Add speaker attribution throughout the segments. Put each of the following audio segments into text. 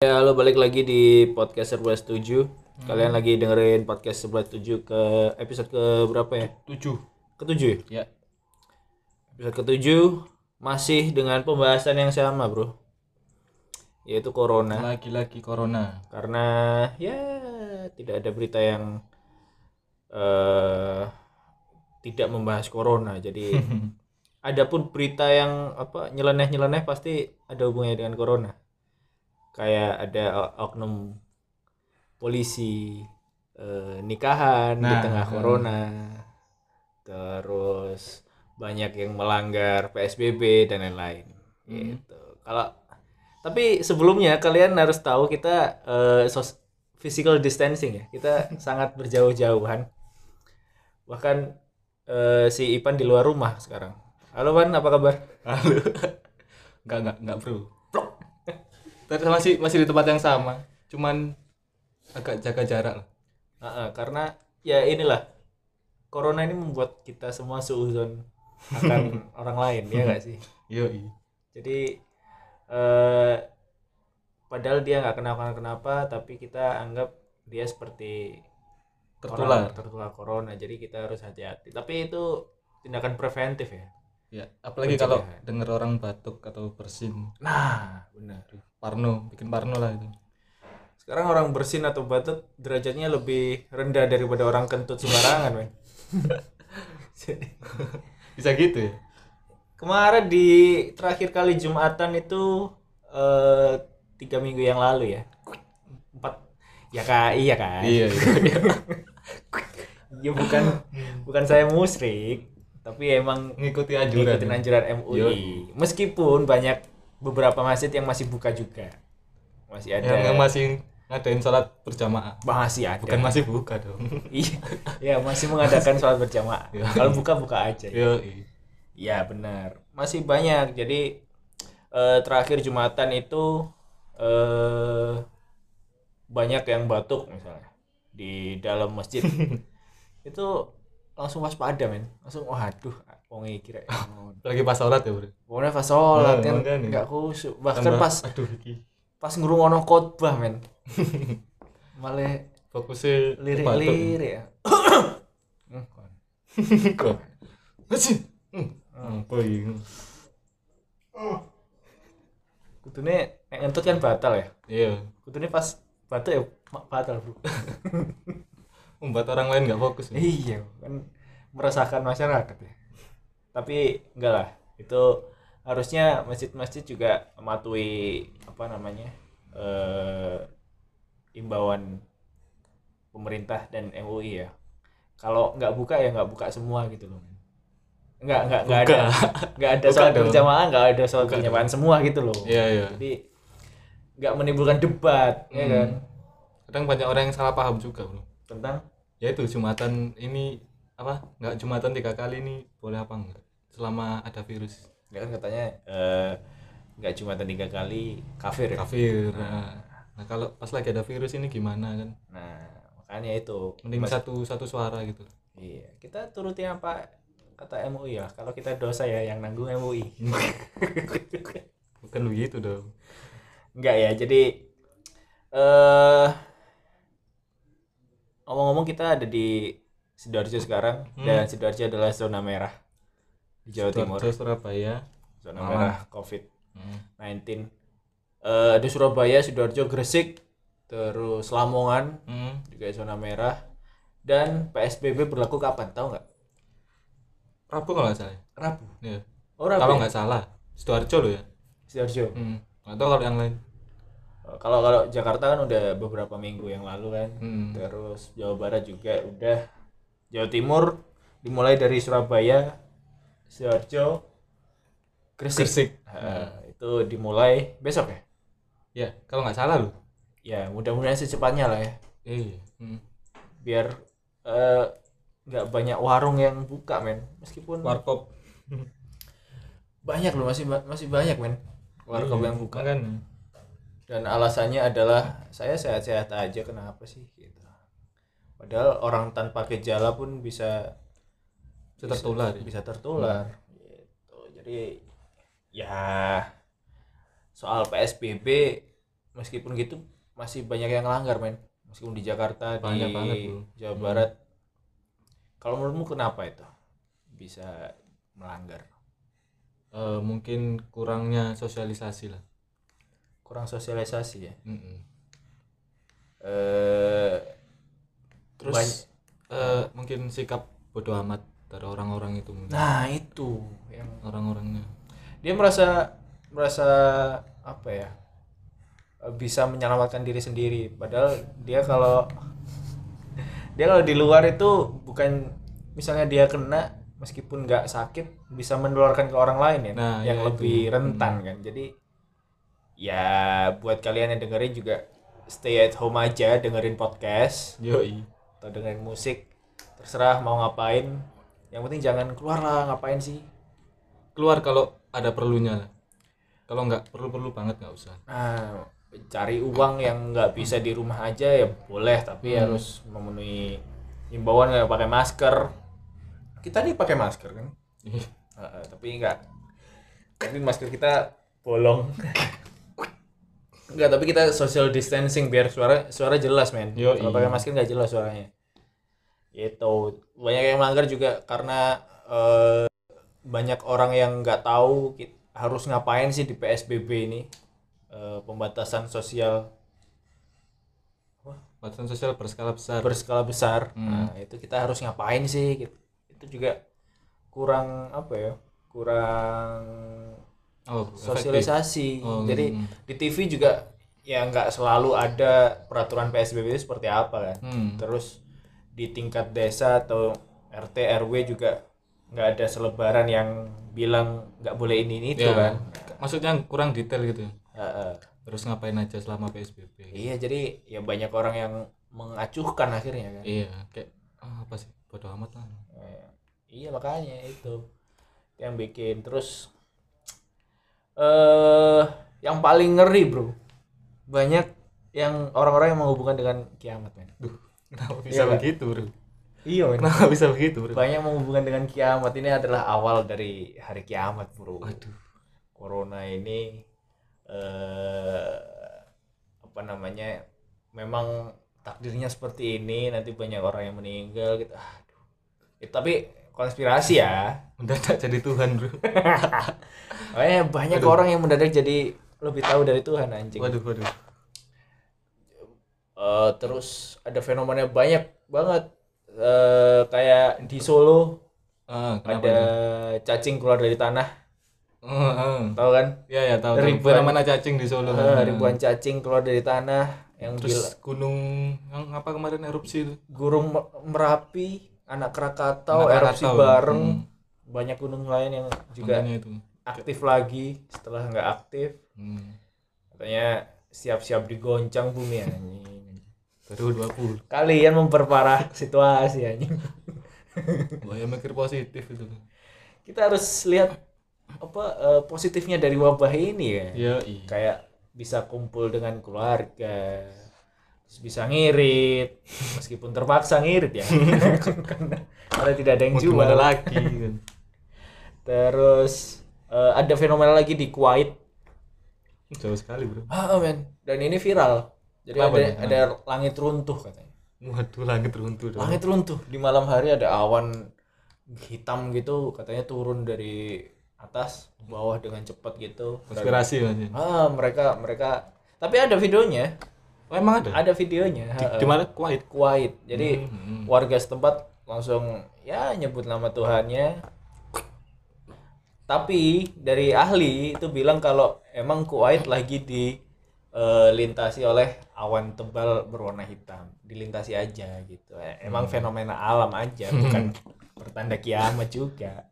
Speaker 1: Ya, lo balik lagi di podcast Serbest 7. Kalian lagi dengerin podcast Serbest 7 ke episode ke berapa ya?
Speaker 2: tujuh
Speaker 1: Ketujuh.
Speaker 2: ya
Speaker 1: Episode ketujuh masih dengan pembahasan yang sama, Bro. Yaitu corona.
Speaker 2: lagi-lagi corona
Speaker 1: Karena ya tidak ada berita yang eh tidak membahas corona. Jadi adapun berita yang apa nyeleneh-nyeleneh pasti ada hubungannya dengan corona. Kayak ada o- oknum polisi eh, nikahan di
Speaker 2: Nah,
Speaker 1: tengah
Speaker 2: eh.
Speaker 1: corona. Terus banyak yang melanggar PSBB dan lain-lain. Gitu. Kalau tapi sebelumnya kalian harus tahu kita eh, sos- physical distancing ya. Kita sangat berjauh-jauhan. Bahkan eh, si Ipan di luar rumah sekarang. Halo Pan, apa kabar?
Speaker 2: halo nggak nggak nggak bro Plok. terus masih masih di tempat yang sama cuman agak jaga jarak lah
Speaker 1: Heeh, karena ya inilah corona ini membuat kita semua suuzon akan orang lain ya nggak sih.
Speaker 2: yoi
Speaker 1: Jadi eh padahal dia nggak kenapa kenapa tapi kita anggap dia seperti orang
Speaker 2: tertular
Speaker 1: tertular corona. Jadi kita harus hati-hati. Tapi itu tindakan preventif ya.
Speaker 2: ya apalagi kalau denger orang batuk atau bersin
Speaker 1: Nah, benar.
Speaker 2: parno bikin parno lah itu
Speaker 1: Sekarang orang bersin atau batuk derajatnya lebih rendah daripada orang kentut sembarangan, men. Jadi-
Speaker 2: bisa gitu ya
Speaker 1: Kemarin di terakhir kali Jumatan itu eh, tiga minggu yang lalu ya. Empat ya kak iya kan.
Speaker 2: iya iya
Speaker 1: Ya bukan
Speaker 2: Hmm.
Speaker 1: bukan saya musrik, tapi emang
Speaker 2: ngikuti anjuran ya?
Speaker 1: ngikutin anjuran MUI. Meskipun banyak beberapa masjid yang masih buka juga. Masih ada.
Speaker 2: yang, yang masih ngadain sholat berjamaah
Speaker 1: masih ada.
Speaker 2: ya. bukan masih buka dong
Speaker 1: Iya, ya masih mengadakan sholat berjamaah. Kalau buka buka aja. ya.
Speaker 2: yoi
Speaker 1: Ya benar, masih banyak. Jadi eh, terakhir Jumatan itu eh banyak yang batuk misalnya di dalam masjid. itu langsung waspada men, langsung waduh wong iki kira
Speaker 2: lagi pas sholat ya bro
Speaker 1: Pokoknya pas sholat
Speaker 2: Nah,
Speaker 1: kan
Speaker 2: makanya.
Speaker 1: nggak khusyuk. Bahkan
Speaker 2: Tambah-
Speaker 1: pas
Speaker 2: aduh iki
Speaker 1: pas ngurungono khotbah men. Malah
Speaker 2: fokusnya ke batuk.
Speaker 1: lirik-lirik ya. Hmm, kon.
Speaker 2: Kok? Masih. Hmm. Apa ini?
Speaker 1: Kudune nek ngentut kan batal ya.
Speaker 2: Iya.
Speaker 1: Kudune pas batuk ya mak batal, Bro.
Speaker 2: Membuat Hmm, orang lain nggak fokus. ya.
Speaker 1: Iya, kan meresahkan masyarakat ya. Tapi enggak lah, itu harusnya masjid-masjid juga mematuhi apa namanya eh, imbauan pemerintah dan MUI ya. Kalau nggak buka ya nggak buka semua gitu loh. Nggak nggak nggak ada nggak ada
Speaker 2: Buka
Speaker 1: soal
Speaker 2: dong.
Speaker 1: berjamaah, nggak ada soal berjamaah semua gitu loh.
Speaker 2: Iya, iya.
Speaker 1: Jadi nggak menimbulkan debat ya
Speaker 2: Hmm.
Speaker 1: kan
Speaker 2: Kadang banyak orang yang salah paham juga, Bro.
Speaker 1: tentang
Speaker 2: Ya itu Jumatan ini apa? Nggak Jumatan tiga kali ini boleh apa enggak? Selama ada virus.
Speaker 1: Ya kan katanya eh, nggak cuma tiga kali kafir. ya?
Speaker 2: Kafir. Nah, nah, kalau pas lagi ada virus ini gimana kan?
Speaker 1: Nah makanya itu.
Speaker 2: Mending
Speaker 1: Mas-
Speaker 2: satu satu suara gitu.
Speaker 1: Iya kita turutin apa kata MUI lah. Kalau kita dosa ya yang nanggung MUI.
Speaker 2: Bukan begitu dong.
Speaker 1: Enggak ya jadi eh ngomong-ngomong kita ada di sidoarjo sekarang
Speaker 2: Hmm.
Speaker 1: dan sidoarjo adalah zona merah di Jawa Timur.
Speaker 2: Sidoarjo, Surabaya.
Speaker 1: Zona
Speaker 2: Aman.
Speaker 1: merah COVID.
Speaker 2: Hmm.
Speaker 1: 19 Eh, ada Surabaya, Sidoarjo, Gresik, terus Lamongan,
Speaker 2: Hmm.
Speaker 1: juga zona merah dan PSBB berlaku kapan tahu nggak
Speaker 2: Rabu kalau nggak salah.
Speaker 1: Rabu
Speaker 2: Iya.
Speaker 1: oh Rabu
Speaker 2: Kalau
Speaker 1: ya?
Speaker 2: nggak salah, Sidoarjo loh ya.
Speaker 1: Sidoarjo
Speaker 2: Hmm. Atau kalau yang lain.
Speaker 1: Eh, kalau kalau Jakarta kan udah beberapa minggu yang lalu kan
Speaker 2: Hmm.
Speaker 1: terus Jawa Barat juga udah Jawa Timur dimulai dari Surabaya Sidoarjo Gresik.
Speaker 2: Gresik.
Speaker 1: Nah, itu dimulai besok ya?
Speaker 2: Ya, kalau nggak salah loh.
Speaker 1: Ya, mudah-mudahan secepatnya lah ya.
Speaker 2: Iya. Hmm.
Speaker 1: Biar eh, nggak banyak warung yang buka, men. Meskipun
Speaker 2: Warkop.
Speaker 1: banyak loh masih ba- masih banyak, men. Warkop
Speaker 2: Iya,
Speaker 1: yang buka.
Speaker 2: Kan.
Speaker 1: Dan alasannya adalah saya sehat-sehat aja, kenapa sih gitu. Padahal orang tanpa gejala pun bisa
Speaker 2: Bisa tertular. ya.
Speaker 1: bisa tertular gitu jadi ya soal psbb meskipun gitu masih banyak yang langgar men meskipun di Jakarta
Speaker 2: Banyak
Speaker 1: di
Speaker 2: banget, Hmm. Bro.
Speaker 1: Jawa Barat kalau menurutmu kenapa itu bisa melanggar
Speaker 2: Eh, mungkin kurangnya sosialisasi lah.
Speaker 1: kurang sosialisasi ya
Speaker 2: Mm-mm.
Speaker 1: eh
Speaker 2: Terus
Speaker 1: Banyak.
Speaker 2: eh, mungkin sikap bodoh amat dari orang-orang itu mungkin.
Speaker 1: nah itu yang
Speaker 2: Orang-orangnya.
Speaker 1: dia merasa merasa apa ya eh, bisa menyelamatkan diri sendiri padahal dia kalau dia kalau di luar itu bukan misalnya dia kena meskipun nggak sakit bisa menularkan ke orang lain ya
Speaker 2: Nah,
Speaker 1: yang
Speaker 2: ya
Speaker 1: lebih rentan kan jadi ya buat kalian yang dengerin juga stay at home aja dengerin podcast
Speaker 2: Yoi.
Speaker 1: atau dengerin musik terserah mau ngapain yang penting jangan keluar lah ngapain sih
Speaker 2: Keluar kalau ada perlunya lah. Kalau nggak perlu-perlu banget nggak usah.
Speaker 1: Nah, cari uang yang nggak bisa di rumah aja ya boleh, tapi harus memenuhi himbauan nggak pakai masker. Kita nih pakai masker kan,
Speaker 2: Iya.
Speaker 1: Heeh, tapi nggak. Tapi masker kita bolong. Enggak, tapi kita social distancing biar suara suara jelas men.
Speaker 2: Yoi.
Speaker 1: Kalau pakai masker nggak jelas suaranya. Itu banyak yang melanggar juga karena eh, banyak orang yang nggak tahu ki- harus ngapain sih di PSBB ini Eh, pembatasan sosial
Speaker 2: Batasan sosial berskala besar.
Speaker 1: berskala besar. Nah, itu kita harus ngapain sih? gitu. Itu juga kurang apa ya? Kurang
Speaker 2: oh, efektif.
Speaker 1: sosialisasi.
Speaker 2: Oh,
Speaker 1: Jadi di TV juga ya nggak selalu ada peraturan PSBB itu seperti apa kan.
Speaker 2: Hmm.
Speaker 1: Terus di tingkat desa atau RT RW juga nggak ada selebaran yang bilang nggak boleh ini ini itu
Speaker 2: Ya,
Speaker 1: kan.
Speaker 2: Maksudnya kurang detail gitu. ya.
Speaker 1: Heeh.
Speaker 2: Terus ngapain aja selama PSBB?
Speaker 1: Iya jadi ya banyak orang yang mengacuhkan akhirnya kan.
Speaker 2: Iya, kayak ah, apa sih? Bodoh amat lah.
Speaker 1: Eh, Iya makanya itu yang bikin terus eh yang paling ngeri bro banyak yang orang-orang yang menghubungkan dengan kiamat men
Speaker 2: Duh, kenapa bisa
Speaker 1: Iya, Kak.
Speaker 2: begitu, Bro?
Speaker 1: iya men
Speaker 2: Kenapa bisa begitu, Bro?
Speaker 1: banyak menghubungkan dengan kiamat ini adalah awal dari hari kiamat bro
Speaker 2: Aduh.
Speaker 1: corona ini eh apa namanya memang takdirnya seperti ini nanti banyak orang yang meninggal gitu aduh Eh, tapi konspirasi ya
Speaker 2: Mendadak jadi Tuhan, Bro.
Speaker 1: Eh banyak orang yang mendadak jadi lebih tahu dari Tuhan anjing.
Speaker 2: Waduh, waduh.
Speaker 1: Eh, terus ada fenomena banyak banget Eh, kayak di Solo
Speaker 2: Ah, kenapa
Speaker 1: ada
Speaker 2: itu?
Speaker 1: cacing keluar dari tanah,
Speaker 2: Ah, ah.
Speaker 1: tahu kan?
Speaker 2: Ya, ya, tahu. tahu.
Speaker 1: Ribuan-
Speaker 2: Fenomena cacing di Solo.
Speaker 1: Eh, ribuan cacing keluar dari tanah yang bila-
Speaker 2: Hmm. Terus gunung yang apa kemarin erupsi itu?
Speaker 1: Gurun Me- Merapi, anak Krakatau,
Speaker 2: Anak
Speaker 1: erupsi
Speaker 2: Krakatau, Hmm.
Speaker 1: bareng. Banyak gunung lain yang juga
Speaker 2: Makanya itu.
Speaker 1: aktif lagi setelah nggak aktif.
Speaker 2: Hmm.
Speaker 1: Katanya siap-siap digoncang bumi anjing.
Speaker 2: Baru 20.
Speaker 1: Kalian memperparah situasi anjing.
Speaker 2: Gua yang mikir positif itu.
Speaker 1: kita harus lihat apa eh, positifnya dari wabah ini ya.
Speaker 2: Ya, iya.
Speaker 1: Kayak bisa kumpul dengan keluarga, terus bisa ngirit, meskipun terpaksa ngirit ya, karena, karena tidak ada yang
Speaker 2: Mau
Speaker 1: jual.
Speaker 2: gimana lagi kan?
Speaker 1: Terus eh, ada fenomena lagi di Kuwait.
Speaker 2: Jauh sekali, Bro.
Speaker 1: Ah oh, men, dan ini viral. Jadi
Speaker 2: Kenapa
Speaker 1: ada
Speaker 2: nih? Kenapa?
Speaker 1: ada langit runtuh katanya.
Speaker 2: Waduh, langit runtuh. dong.
Speaker 1: Langit runtuh di malam hari ada awan hitam gitu katanya turun dari atas ke bawah dengan cepat gitu.
Speaker 2: Konspirasi maksudnya.
Speaker 1: Ah, mereka mereka tapi ada videonya,
Speaker 2: Oh, emang ada?
Speaker 1: ada videonya.
Speaker 2: Di,
Speaker 1: ha,
Speaker 2: di mana? Kuwait.
Speaker 1: Kuwait. Jadi
Speaker 2: Hmm, hmm.
Speaker 1: warga setempat langsung ya nyebut nama Tuhannya. Tapi dari ahli itu bilang kalau emang Kuwait lagi dilintasi oleh awan tebal berwarna hitam. Dilintasi aja gitu. Eh, Emang
Speaker 2: Hmm.
Speaker 1: fenomena alam aja bukan pertanda kiamat juga.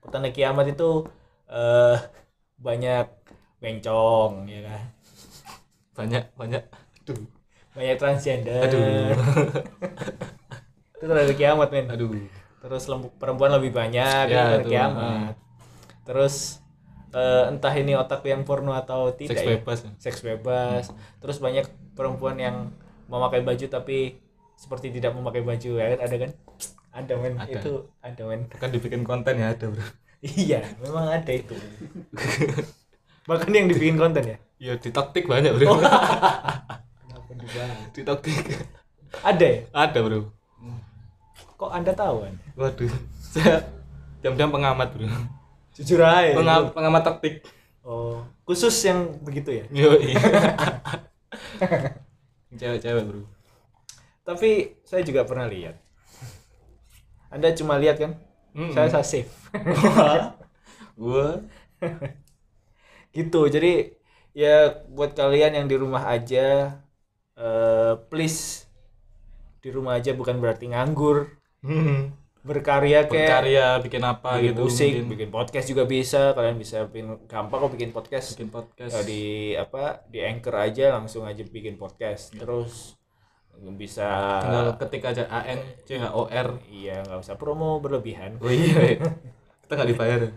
Speaker 1: Pertanda kiamat itu eh banyak bencong ya kan
Speaker 2: banyak banyak aduh
Speaker 1: banyak transgender
Speaker 2: Aduh.
Speaker 1: Eh. itu tanda kiamat men
Speaker 2: aduh
Speaker 1: terus lembuk perempuan lebih banyak
Speaker 2: Ya,
Speaker 1: ya,
Speaker 2: itu,
Speaker 1: kiamat terus eh, entah ini otak yang porno atau tidak
Speaker 2: seks
Speaker 1: ya.
Speaker 2: bebas ya.
Speaker 1: seks bebas terus banyak perempuan yang memakai baju tapi seperti tidak memakai baju ya kan ada kan ada men
Speaker 2: Ada.
Speaker 1: itu ada men
Speaker 2: bahkan dibikin konten ya ada bro
Speaker 1: iya memang ada itu bahkan yang dibikin konten ya
Speaker 2: ya di taktik banyak bro di taktik
Speaker 1: ada ya
Speaker 2: ada bro
Speaker 1: kok anda tahu kan? Anda?
Speaker 2: waduh Iya, saya jam-jam pengamat bro
Speaker 1: jujur aja
Speaker 2: Penga- pengamat taktik
Speaker 1: oh khusus yang begitu ya
Speaker 2: yo iya. cewek-cewek bro
Speaker 1: tapi saya juga pernah lihat anda cuma lihat kan
Speaker 2: Mm-mm.
Speaker 1: saya saya save
Speaker 2: gua
Speaker 1: gitu jadi ya buat kalian yang di rumah aja eh, please di rumah aja bukan berarti nganggur
Speaker 2: hmm,
Speaker 1: berkarya kayak
Speaker 2: berkarya bikin apa
Speaker 1: bikin
Speaker 2: gitu
Speaker 1: musik
Speaker 2: mungkin.
Speaker 1: bikin podcast juga bisa kalian bisa bikin gampang kok bikin podcast
Speaker 2: bikin podcast
Speaker 1: Ya, di apa di anchor aja langsung aja bikin podcast terus bisa
Speaker 2: Ya. tinggal ketik aja A N C H O R
Speaker 1: iya nggak usah promo berlebihan
Speaker 2: oh iya iya. kita nggak dibayar ya?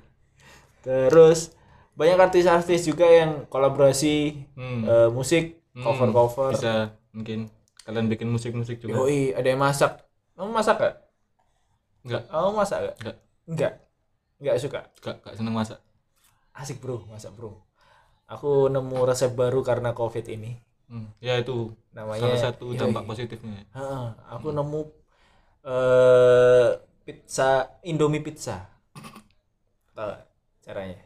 Speaker 1: terus banyak artis-artis juga yang kolaborasi
Speaker 2: Hmm.
Speaker 1: eh, musik
Speaker 2: Hmm,
Speaker 1: cover cover
Speaker 2: bisa mungkin kalian bikin musik-musik juga
Speaker 1: Yoi, ada yang masak. Kamu masak gak?
Speaker 2: Enggak.
Speaker 1: Kamu masak gak?
Speaker 2: Enggak.
Speaker 1: Enggak. Enggak suka.
Speaker 2: gak, gak seneng masak
Speaker 1: Asik bro, masak bro. Aku nemu resep baru karena covid ini.
Speaker 2: Hmm, ya itu
Speaker 1: Namanya.
Speaker 2: salah
Speaker 1: Oh,
Speaker 2: satu
Speaker 1: iya. Yoi.
Speaker 2: dampak positifnya
Speaker 1: Heeh, aku nemu eh pizza Indomie pizza. Tahu nggak caranya?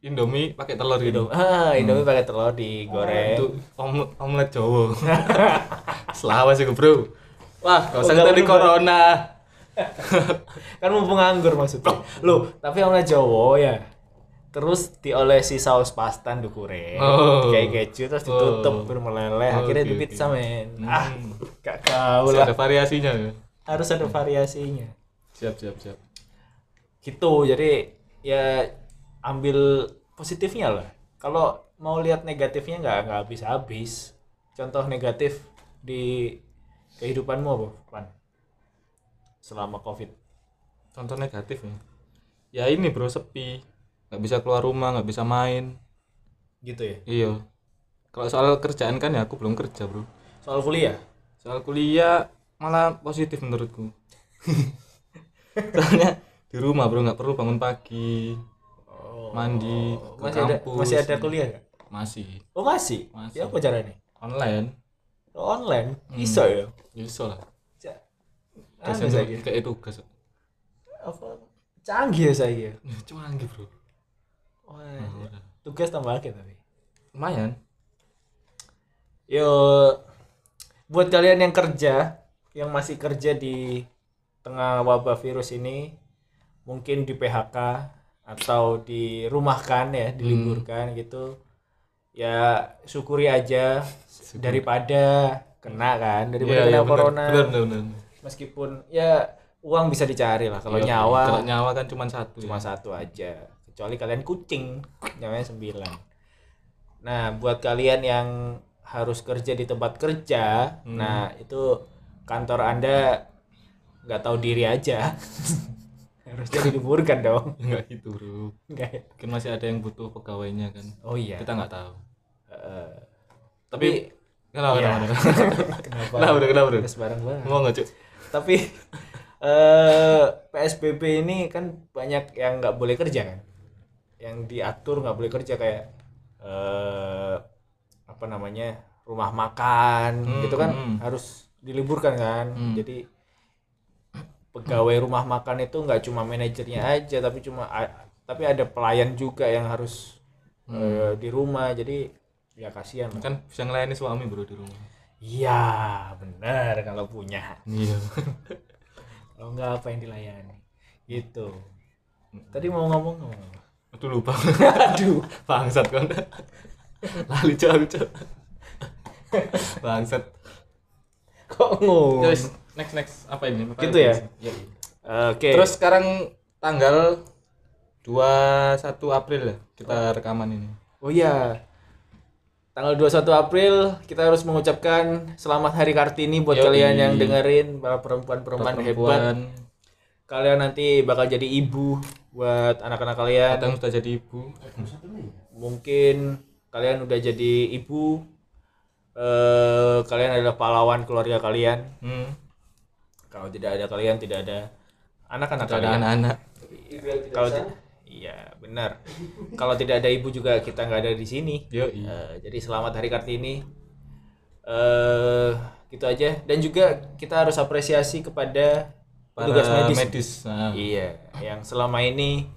Speaker 2: Indomie pakai telur gitu
Speaker 1: Indomie, ah, Indomie pakai telur digoreng.
Speaker 2: itu om omlet Jawa selawas itu bro wah gak usah
Speaker 1: Oh, nggak
Speaker 2: kita di
Speaker 1: perlu,
Speaker 2: corona
Speaker 1: kan mumpung nganggur maksudnya loh tapi omelet jowo ya terus diolesi saus pasta dukure
Speaker 2: Oh.
Speaker 1: kayak keju terus ditutup
Speaker 2: Oh.
Speaker 1: bermeleleh
Speaker 2: Oke,
Speaker 1: akhirnya di
Speaker 2: oke.
Speaker 1: pizza men
Speaker 2: Hmm.
Speaker 1: ah gak tau
Speaker 2: Masih
Speaker 1: lah
Speaker 2: ada variasinya ya.
Speaker 1: harus ada variasinya
Speaker 2: siap siap siap
Speaker 1: gitu jadi ya ambil positifnya lah kalau mau lihat negatifnya nggak nggak habis habis contoh negatif di kehidupanmu apa Pan? selama covid
Speaker 2: contoh negatifnya ya ini bro sepi nggak bisa keluar rumah nggak bisa main
Speaker 1: gitu ya
Speaker 2: iya kalau soal kerjaan kan ya aku belum kerja bro
Speaker 1: soal kuliah
Speaker 2: soal kuliah malah positif menurutku soalnya di rumah bro nggak perlu bangun pagi
Speaker 1: Oh.
Speaker 2: mandi ke
Speaker 1: masih ada
Speaker 2: kampus.
Speaker 1: masih ada kuliah nggak?
Speaker 2: masih
Speaker 1: Oh masih?
Speaker 2: Masih. Hmm.
Speaker 1: Ya apa caranya?
Speaker 2: online
Speaker 1: Oh, online? Iso ya?
Speaker 2: bisa lah
Speaker 1: Ca- Apa
Speaker 2: dosen
Speaker 1: saya?
Speaker 2: kayak tugas
Speaker 1: Apa? Canggih ya saya.
Speaker 2: canggih bro
Speaker 1: Wah, iya.
Speaker 2: Oh,
Speaker 1: tugas tambah lagi tapi.
Speaker 2: lumayan
Speaker 1: Yo, buat kalian yang kerja, yang masih kerja di tengah wabah virus ini, mungkin di PHK atau dirumahkan ya,
Speaker 2: Hmm.
Speaker 1: diliburkan gitu. Ya syukuri aja daripada kena kan, daripada
Speaker 2: Iya,
Speaker 1: kena
Speaker 2: iya, benar.
Speaker 1: corona.
Speaker 2: benar benar benar
Speaker 1: meskipun ya uang bisa dicari lah kalau
Speaker 2: Iya,
Speaker 1: nyawa
Speaker 2: kalau nyawa kan cuma satu
Speaker 1: cuma
Speaker 2: ya.
Speaker 1: satu aja kecuali kalian kucing nyawanya sembilan nah buat kalian yang harus kerja di tempat kerja
Speaker 2: Hmm.
Speaker 1: nah itu kantor anda nggak tahu diri aja harusnya diliburkan dong
Speaker 2: nggak gitu bro
Speaker 1: Nggak ya?
Speaker 2: mungkin masih ada yang butuh pegawainya kan
Speaker 1: oh iya
Speaker 2: kita nggak tahu
Speaker 1: Eh,
Speaker 2: tapi
Speaker 1: tapi
Speaker 2: kenapa
Speaker 1: Iya.
Speaker 2: kenapa
Speaker 1: kenapa
Speaker 2: kenapa bro kenapa bro
Speaker 1: harus bareng bareng
Speaker 2: mau nggak cuy
Speaker 1: tapi eh PSBB ini kan banyak yang nggak boleh kerja kan yang diatur nggak boleh kerja kayak eh apa namanya rumah makan
Speaker 2: Hmm,
Speaker 1: gitu kan
Speaker 2: hmm.
Speaker 1: harus diliburkan kan
Speaker 2: Hmm.
Speaker 1: jadi pegawai rumah makan itu nggak cuma manajernya aja tapi cuma a- tapi ada pelayan juga yang harus eh, di rumah jadi ya kasihan lah.
Speaker 2: kan bisa ngelayani suami bro di rumah
Speaker 1: iya benar kalau punya
Speaker 2: iya
Speaker 1: kalau nggak apa yang dilayani gitu tadi mau ngomong ngomong apa?
Speaker 2: aduh lupa
Speaker 1: aduh
Speaker 2: bangsat kan lali jauh jauh bangsat
Speaker 1: kok ngomong
Speaker 2: terus Ya, next next apa ini Apa
Speaker 1: Gitu ya?
Speaker 2: ini? Iya.
Speaker 1: oke
Speaker 2: terus sekarang tanggal 21 April lah kita rekaman ini.
Speaker 1: Oh iya. Tanggal 21 April kita harus mengucapkan selamat Hari Kartini buat
Speaker 2: Yoi.
Speaker 1: kalian yang dengerin para perempuan-perempuan hebat.
Speaker 2: Perempuan
Speaker 1: Kalian nanti bakal jadi ibu buat anak-anak kalian.
Speaker 2: kadang sudah jadi ibu.
Speaker 1: Mungkin kalian udah jadi ibu. Eh, kalian adalah pahlawan keluarga kalian.
Speaker 2: Hmm.
Speaker 1: Kalau tidak ada kalian tidak ada anak-anak
Speaker 2: Ada
Speaker 1: kalian.
Speaker 2: anak-anak.
Speaker 1: Kalau ti- iya benar. Kalau tidak ada ibu juga kita nggak ada di sini.
Speaker 2: Yo, iya.
Speaker 1: Eh, jadi selamat Hari Kartini. Eh gitu aja. Dan juga kita harus apresiasi kepada
Speaker 2: para
Speaker 1: petugas medis.
Speaker 2: medis. Nah,
Speaker 1: Iya, yang selama ini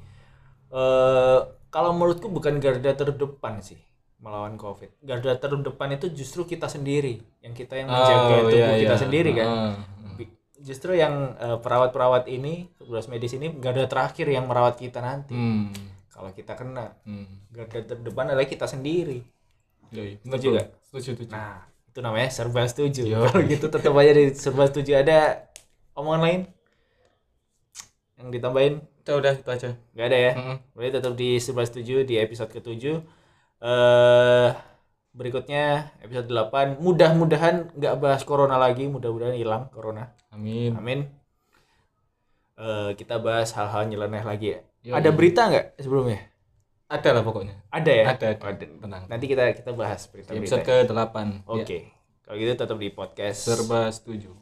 Speaker 1: eh kalau menurutku bukan garda terdepan sih melawan COVID. Garda terdepan itu justru kita sendiri, yang kita yang menjaga
Speaker 2: Oh,
Speaker 1: tubuh
Speaker 2: iya,
Speaker 1: kita
Speaker 2: iya.
Speaker 1: sendiri kan.
Speaker 2: Ah.
Speaker 1: Bi- Justru yang eh, perawat-perawat ini, petugas medis ini garda terakhir yang merawat kita nanti.
Speaker 2: Hmm.
Speaker 1: Kalau kita kena,
Speaker 2: Hmm.
Speaker 1: garda terdepan adalah kita sendiri.
Speaker 2: Yo, iya.
Speaker 1: Setuju
Speaker 2: Betul.
Speaker 1: nggak?
Speaker 2: Setuju, setuju.
Speaker 1: Nah, itu namanya serba setuju.
Speaker 2: Yo.
Speaker 1: Kalau gitu tetap aja di serba setuju ada omongan lain yang ditambahin?
Speaker 2: Udah, Nah, udah itu aja.
Speaker 1: Gak ada ya.
Speaker 2: Mm-mm.
Speaker 1: Berarti tetap di serba setuju di episode ketujuh. Eh berikutnya episode 8 mudah-mudahan nggak bahas corona lagi, mudah-mudahan hilang corona.
Speaker 2: Amin.
Speaker 1: Amin. Eh kita bahas hal-hal nyeleneh lagi ya.
Speaker 2: Yo,
Speaker 1: ada
Speaker 2: iya.
Speaker 1: berita nggak sebelumnya?
Speaker 2: Ada lah pokoknya.
Speaker 1: Ada ya.
Speaker 2: Ada, ada. Tenang.
Speaker 1: Nanti kita kita bahas
Speaker 2: Di episode Ya,
Speaker 1: berita-berita.
Speaker 2: ke-8.
Speaker 1: Oke. Kalau gitu tetap di podcast
Speaker 2: Serba setuju.